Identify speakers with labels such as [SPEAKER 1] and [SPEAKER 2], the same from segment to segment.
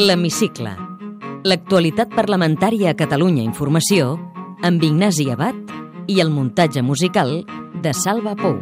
[SPEAKER 1] L'Hemicicle. L'actualitat parlamentària a Catalunya Informació amb Ignasi Abad i el muntatge musical de Salva Pou.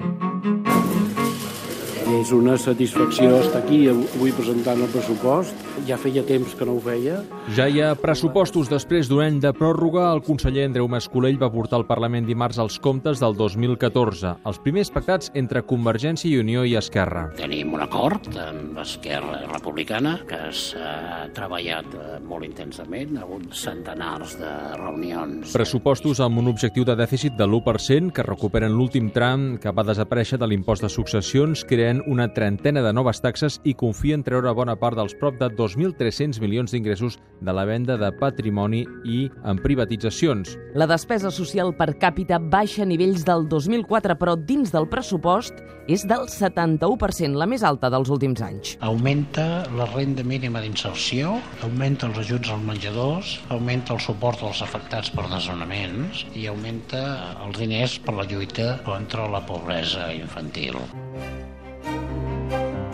[SPEAKER 2] És una satisfacció estar aquí avui presentant el pressupost. Ja feia temps que no ho feia.
[SPEAKER 3] Ja hi ha pressupostos després d'un any de pròrroga. El conseller Andreu Mascolell va portar al Parlament dimarts els comptes del 2014, els primers pactats entre Convergència i Unió i Esquerra.
[SPEAKER 4] Tenim un acord amb Esquerra Republicana que s'ha treballat eh, molt intensament, ha hagut centenars de reunions.
[SPEAKER 3] Pressupostos amb un objectiu de dèficit de l'1%, que recuperen l'últim tram que va desaparèixer de l'impost de successions, creen una trentena de noves taxes i confien treure bona part dels prop de 2.300 milions d'ingressos de la venda de patrimoni i en privatitzacions.
[SPEAKER 5] La despesa social per càpita baixa a nivells del 2004, però dins del pressupost és del 71%, la més alta dels últims anys.
[SPEAKER 4] Augmenta la renda mínima d'inserció, augmenta els ajuts als menjadors, augmenta el suport als afectats per desnonaments i augmenta els diners per la lluita contra la pobresa infantil.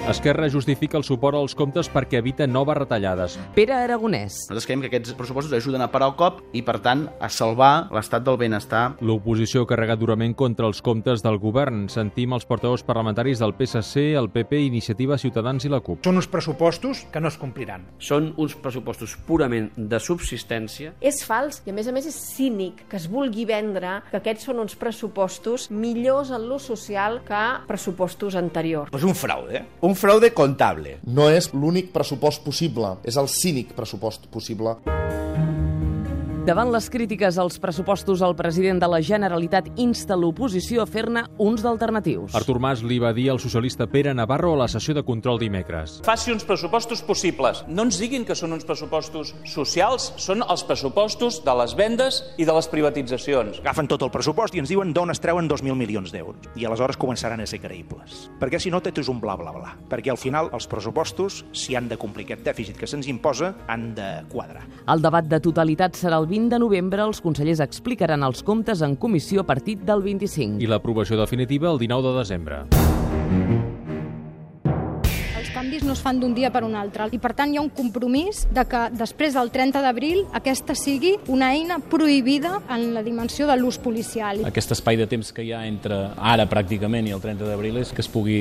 [SPEAKER 3] Esquerra justifica el suport als comptes perquè evita noves retallades.
[SPEAKER 5] Pere Aragonès,
[SPEAKER 6] Nosaltres creiem que aquests pressupostos ajuden a parar el cop i, per tant, a salvar l'estat del benestar.
[SPEAKER 3] L'oposició carrega durament contra els comptes del govern. Sentim els portaveus parlamentaris del PSC, el PP, Iniciativa, Ciutadans i la CUP.
[SPEAKER 7] Són uns pressupostos que no es compliran.
[SPEAKER 8] són uns pressupostos purament de subsistència
[SPEAKER 9] És fals i, a més a més, és cínic que es vulgui vendre que aquests són uns pressupostos millors en l'ús social que pressupostos anteriors.
[SPEAKER 10] Pues un fraude, un fraude contable.
[SPEAKER 11] no és l'únic pressupost possible, és el cínic pressupost possible.
[SPEAKER 5] davant les crítiques als pressupostos, el president de la Generalitat insta l'oposició a fer-ne uns d'alternatius.
[SPEAKER 3] Artur Mas li va dir al socialista Pere Navarro a la sessió de control dimecres.
[SPEAKER 7] Faci uns pressupostos possibles. No ens diguin que són uns pressupostos socials, són els pressupostos de les vendes i de les privatitzacions.
[SPEAKER 10] Agafen tot el pressupost i ens diuen d'on es treuen 2.000 milions d'euros. I aleshores començaran a ser creïbles. Perquè si no, tot és un bla, bla, bla. Perquè al final els pressupostos, si han de complir aquest dèficit que se'ns imposa, han de quadrar.
[SPEAKER 5] El debat de totalitat serà el 20 de novembre. Els consellers explicaran els comptes en comissió a partir del 25.
[SPEAKER 3] I l'aprovació definitiva el 19 de desembre.
[SPEAKER 9] Els canvis no es fan d'un dia per un altre i, per tant, hi ha un compromís de que després del 30 d'abril aquesta sigui una eina prohibida en la dimensió de l'ús policial.
[SPEAKER 7] Aquest espai de temps que hi ha entre ara pràcticament i el 30 d'abril és que es pugui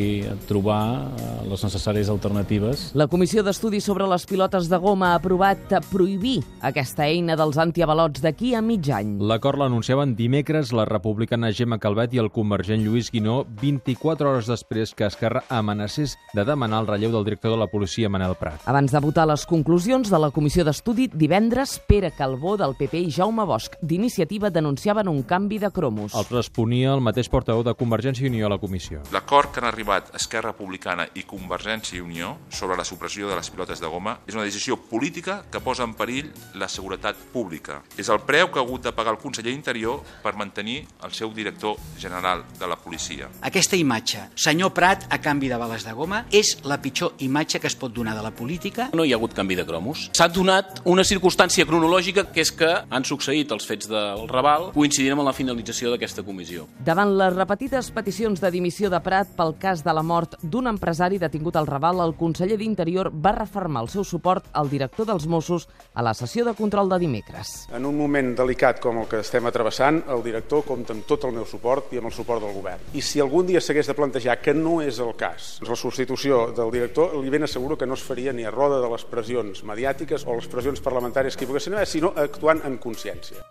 [SPEAKER 7] trobar eh, les necessàries alternatives
[SPEAKER 5] La Comissió d'Estudi sobre les pilotes de goma ha aprovat prohibir aquesta eina dels antiavalots d'aquí a mig any.
[SPEAKER 3] L'acord l'anunciaven dimecres la republicana Gemma Calvet i el convergent Lluís Guinó 24 hores després que Esquerra amenacés de demanar el relleu del director de la policia Manel Prat.
[SPEAKER 5] Abans de votar les conclusions de la comissió d'estudi, divendres, Pere Calbó del PP i Jaume Bosch d'Iniciativa denunciaven un canvi de cromos.
[SPEAKER 3] Els responia el mateix portaveu de Convergència i Unió a la comissió.
[SPEAKER 7] L'acord que han arribat Esquerra Republicana i Convergència i Unió sobre la supressió de les pilotes de goma és una decisió política que posa en perill la seguretat pública. És el preu que ha hagut de pagar el conseller Interior per mantenir el seu director general de la policia.
[SPEAKER 4] Aquesta imatge, senyor Prat a canvi de bales de goma, és la pitjor imatge que es pot donar de la política
[SPEAKER 8] no hi ha hagut canvi de cromos. S'ha donat una circumstància cronològica que és que han succeït els fets del Raval coincidint amb la finalització d'aquesta comissió.
[SPEAKER 5] Davant les repetides peticions de dimissió de Prat pel cas de la mort d'un empresari detingut al Raval, el conseller d'Interior va refermar el seu suport al director dels Mossos a la sessió de control de dimecres.
[SPEAKER 2] En un moment delicat com el que estem atrevessant, el director compta amb tot el meu suport i amb el suport del govern. I si algun dia s'hagués de plantejar que no és el cas, doncs la substitució del director li ben asseguro que no es faria ni a roda de les pressions mediàtiques o les pressions parlamentàries que hi poguessin haver, sinó actuant en consciència.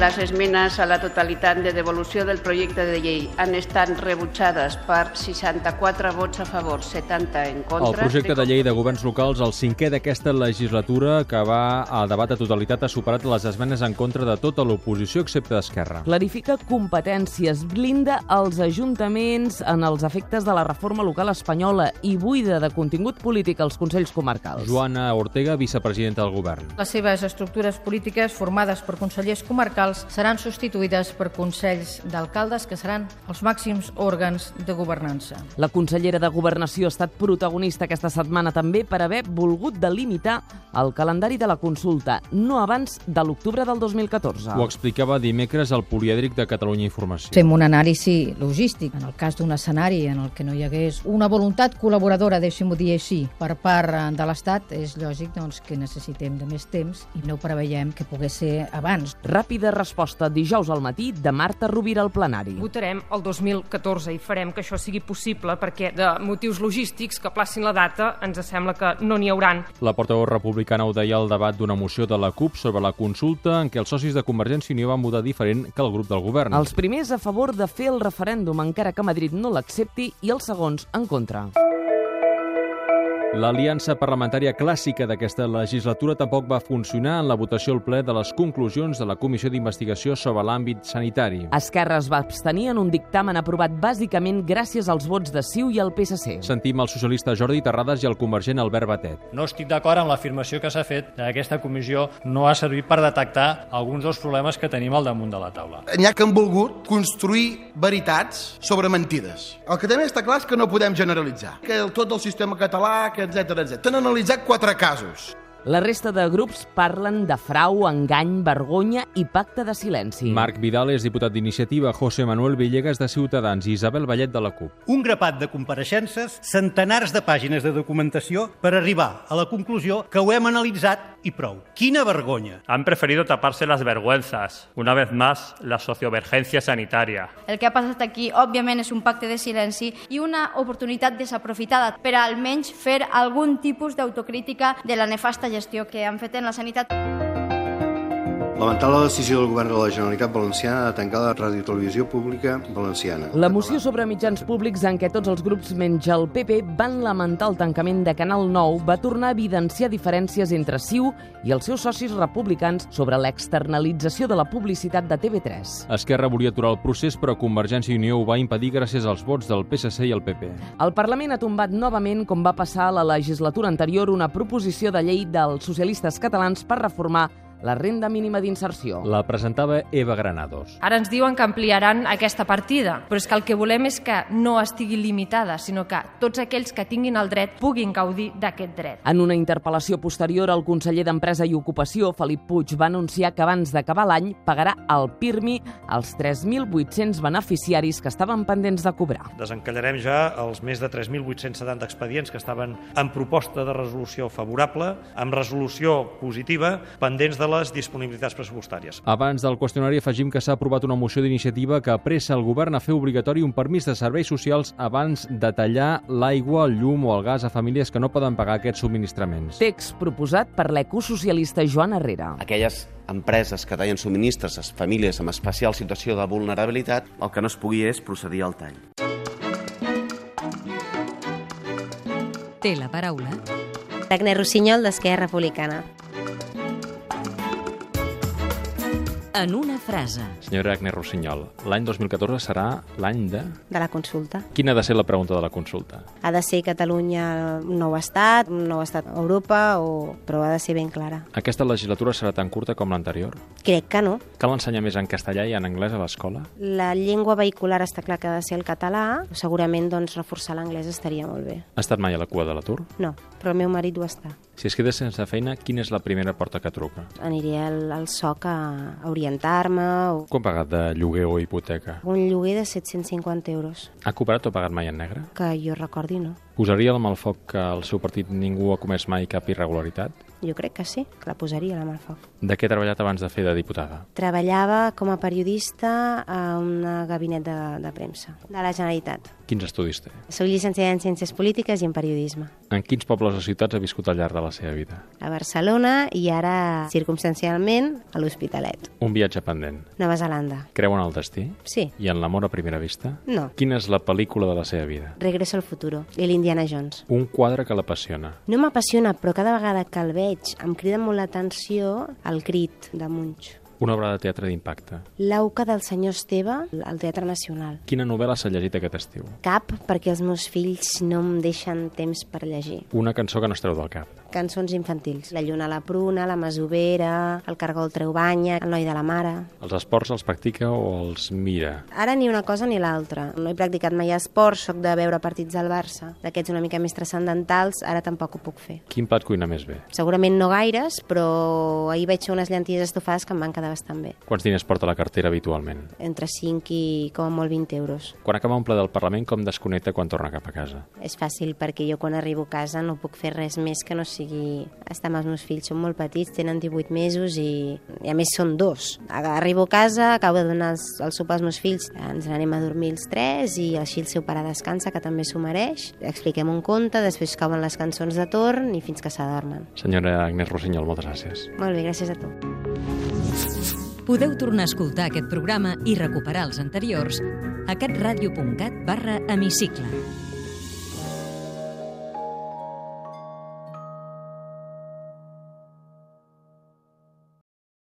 [SPEAKER 9] Les esmenes a la totalitat de devolució del projecte de llei han estat rebutjades per 64 vots a favor, 70 en
[SPEAKER 3] El projecte de llei de governs locals, el cinquè d'aquesta legislatura que va a debat a totalitat, ha superat les esmenes en contra de tota l'oposició excepte d'Esquerra.
[SPEAKER 5] clarifica competències, blinda els ajuntaments en els efectes de la reforma local espanyola i buida de contingut polític els Consells Comarcals.
[SPEAKER 3] Joana Ortega, vicepresidenta del govern.
[SPEAKER 9] Les seves estructures polítiques formades per consellers
[SPEAKER 12] locals
[SPEAKER 9] comarcals
[SPEAKER 12] seran substituïdes per consells d'alcaldes, que seran els màxims òrgans de governança.
[SPEAKER 5] La consellera de Governació ha estat protagonista aquesta setmana també per haver volgut delimitar el calendari de la consulta, no abans de l'octubre del 2014.
[SPEAKER 3] Ho explicava dimecres al Polièdric de Catalunya Informació.
[SPEAKER 12] Fem un anàlisi logístic. En el cas d'un escenari en el que no hi hagués una voluntat col·laboradora, deixem-ho dir així, per part eh, de l'Estat, és lògic doncs, que necessitem de més temps i no preveiem que pogués ser abans.
[SPEAKER 5] Ràpida resposta dijous al matí de Marta Rovira al plenari.
[SPEAKER 13] Votarem el 2014 i farem que això sigui possible perquè de motius logístics que placin la data ens sembla que no n'hi hauran.
[SPEAKER 3] La portaveu republicana ho deia al debat d'una moció de la CUP sobre la consulta en què els socis de Convergència i Unió van votar diferent que el grup del govern.
[SPEAKER 5] Els primers a favor de fer el referèndum encara que Madrid no l'accepti i els segons en contra.
[SPEAKER 3] L'aliança parlamentària clàssica d'aquesta legislatura tampoc va funcionar en la votació al ple de les conclusions de la Comissió d'Investigació sobre l'àmbit sanitari.
[SPEAKER 5] Esquerra es va abstenir en un dictamen aprovat bàsicament gràcies als vots de Ciu i el PSC.
[SPEAKER 3] Sentim el socialista Jordi Terrades i el convergent Albert Batet.
[SPEAKER 14] No estic d'acord amb l'afirmació que s'ha fet que aquesta comissió no ha servit per detectar alguns dels problemes que tenim al damunt de la taula.
[SPEAKER 15] N'hi ha que han volgut construir veritats sobre mentides. El que també està clar és que no podem generalitzar, que el, tot el sistema català, que etc etc. T'han analitzat quatre casos.
[SPEAKER 5] La resta de grups parlen de frau, engany, vergonya i pacte de silenci.
[SPEAKER 3] Marc Vidal és diputat d'Iniciativa, José Manuel Villegas de Ciutadans i Isabel Vallet de la CUP.
[SPEAKER 16] Un grapat de compareixences, centenars de pàgines de documentació per arribar a la conclusió que ho hem analitzat i prou. Quina vergonya!
[SPEAKER 17] Han preferido taparse las vergüenzas. Una vez más, la sociovergencia sanitaria.
[SPEAKER 18] El que ha passat aquí, òbviament, és un pacte de silenci i una oportunitat desaprofitada per a almenys fer algun tipus d'autocrítica de la nefasta gestió que han fet en la sanitat.
[SPEAKER 19] Lamentar la decisió del govern de la Generalitat Valenciana de tancar la radiotelevisió pública valenciana.
[SPEAKER 5] La moció sobre mitjans públics en què tots els grups menys el PP van lamentar el tancament de Canal 9 va tornar a evidenciar diferències entre CiU i els seus socis republicans sobre l'externalització de la publicitat de TV3.
[SPEAKER 3] Esquerra volia aturar el procés, però Convergència i Unió ho va impedir gràcies als vots del PSC i el PP.
[SPEAKER 5] El Parlament ha tombat novament, com va passar a la legislatura anterior, una proposició de llei dels socialistes catalans per reformar la renda mínima d'inserció.
[SPEAKER 3] La presentava Eva Granados.
[SPEAKER 20] Ara ens diuen que ampliaran aquesta partida, però és que el que volem és que no estigui limitada, sinó que tots aquells que tinguin el dret puguin gaudir d'aquest dret.
[SPEAKER 5] En una interpel·lació posterior, el conseller d'Empresa i Ocupació, Felip Puig, va anunciar que abans d'acabar l'any pagarà al PIRMI els 3.800 beneficiaris que estaven pendents de cobrar.
[SPEAKER 21] Desencallarem ja els més de 3.870 expedients que estaven en proposta de resolució favorable, amb resolució positiva, pendents de les disponibilitats pressupostàries.
[SPEAKER 3] Abans del qüestionari afegim que s'ha aprovat una moció d'iniciativa que apressa el govern a fer obligatori un permís de serveis socials abans de tallar l'aigua, el llum o el gas a famílies que no poden pagar aquests subministraments.
[SPEAKER 5] Text proposat per l'ecosocialista Joan Herrera.
[SPEAKER 22] Aquelles empreses que tallen subministres a famílies amb especial situació de vulnerabilitat, el que no es pugui és procedir al tall.
[SPEAKER 23] Té la paraula.
[SPEAKER 24] Tecne Rossinyol, d'Esquerra Republicana.
[SPEAKER 23] en una frase.
[SPEAKER 3] Senyora Agnès Rossinyol, l'any 2014 serà l'any de...
[SPEAKER 24] De la consulta.
[SPEAKER 3] Quina ha de ser la pregunta de la consulta?
[SPEAKER 24] Ha de ser Catalunya un nou estat, un nou estat a Europa, o... però ha de ser ben clara.
[SPEAKER 3] Aquesta legislatura serà tan curta com l'anterior?
[SPEAKER 24] Crec que no.
[SPEAKER 3] Cal ensenyar més en castellà i en anglès a l'escola?
[SPEAKER 24] La llengua vehicular està clar que ha de ser el català. Segurament doncs, reforçar l'anglès estaria molt bé.
[SPEAKER 3] Ha estat mai a la cua de l'atur?
[SPEAKER 24] No, però el meu marit ho està.
[SPEAKER 3] Si es queda sense feina, quina és la primera porta que truca?
[SPEAKER 24] Aniré al, al SOC a, a orientar-me. O...
[SPEAKER 3] Quant pagat de lloguer o hipoteca?
[SPEAKER 24] Un lloguer de 750 euros.
[SPEAKER 3] Ha cobrat o pagat mai en negre?
[SPEAKER 24] Que jo recordi, no.
[SPEAKER 3] Posaria la mà al foc que al seu partit ningú ha comès mai cap irregularitat?
[SPEAKER 24] Jo crec que sí, que la posaria la mà al foc.
[SPEAKER 3] De què ha treballat abans de fer de diputada?
[SPEAKER 24] Treballava com a periodista a un gabinet de, de premsa de la Generalitat.
[SPEAKER 3] Quins estudis té?
[SPEAKER 24] Soc llicenciada en Ciències Polítiques i en Periodisme.
[SPEAKER 3] En quins pobles o ciutats ha viscut al llarg de la seva vida?
[SPEAKER 24] A Barcelona i ara, circumstancialment, a l'Hospitalet.
[SPEAKER 3] Un viatge pendent.
[SPEAKER 24] Nova Zelanda.
[SPEAKER 3] Creu en el destí?
[SPEAKER 24] Sí.
[SPEAKER 3] I en l'amor a primera vista?
[SPEAKER 24] No.
[SPEAKER 3] Quina és la pel·lícula de la seva vida?
[SPEAKER 24] Regreso al futuro, i l'Indiana Jones.
[SPEAKER 3] Un quadre que l'apassiona.
[SPEAKER 24] No m'apassiona, però cada vegada que el veig veig, em crida molt l'atenció el crit de Munch.
[SPEAKER 3] Una obra de teatre d'impacte.
[SPEAKER 24] L'auca del senyor Esteve al Teatre Nacional.
[SPEAKER 3] Quina novel·la s'ha llegit aquest estiu?
[SPEAKER 24] Cap, perquè els meus fills no em deixen temps per llegir.
[SPEAKER 3] Una cançó que no es treu del cap.
[SPEAKER 24] cançons infantils. La lluna a la pruna, la masovera, el cargol treu banya, el noi de la mare...
[SPEAKER 3] Els esports els practica o els mira?
[SPEAKER 24] Ara ni una cosa ni l'altra. No he practicat mai esport, sóc de veure partits del Barça. D'aquests una mica més transcendentals, ara tampoc ho puc fer.
[SPEAKER 3] Quin plat cuina més bé?
[SPEAKER 24] Segurament no gaires, però ahir vaig fer unes llenties estofades que em van quedar bastant bé.
[SPEAKER 3] Quants diners porta a la cartera habitualment?
[SPEAKER 24] Entre 5 i com a molt 20 euros.
[SPEAKER 3] Quan acaba un ple del Parlament, com desconnecta quan torna cap a casa?
[SPEAKER 24] És fàcil perquè jo quan arribo a casa no puc fer res més que no sigui estar amb els meus fills. Són molt petits, tenen 18 mesos i, i a més són dos. Arribo a casa, acabo de donar els, el sopar als meus fills, ens n'anem a dormir els tres i així el seu pare descansa, que també s'ho mereix. Expliquem un conte, després cauen les cançons de torn i fins que s'adormen.
[SPEAKER 3] Senyora Agnès Rossinyol, moltes gràcies.
[SPEAKER 24] Molt bé, gràcies a tu.
[SPEAKER 23] Podeu tornar a escoltar aquest programa i recuperar els anteriors a catradio.cat barra hemicicle.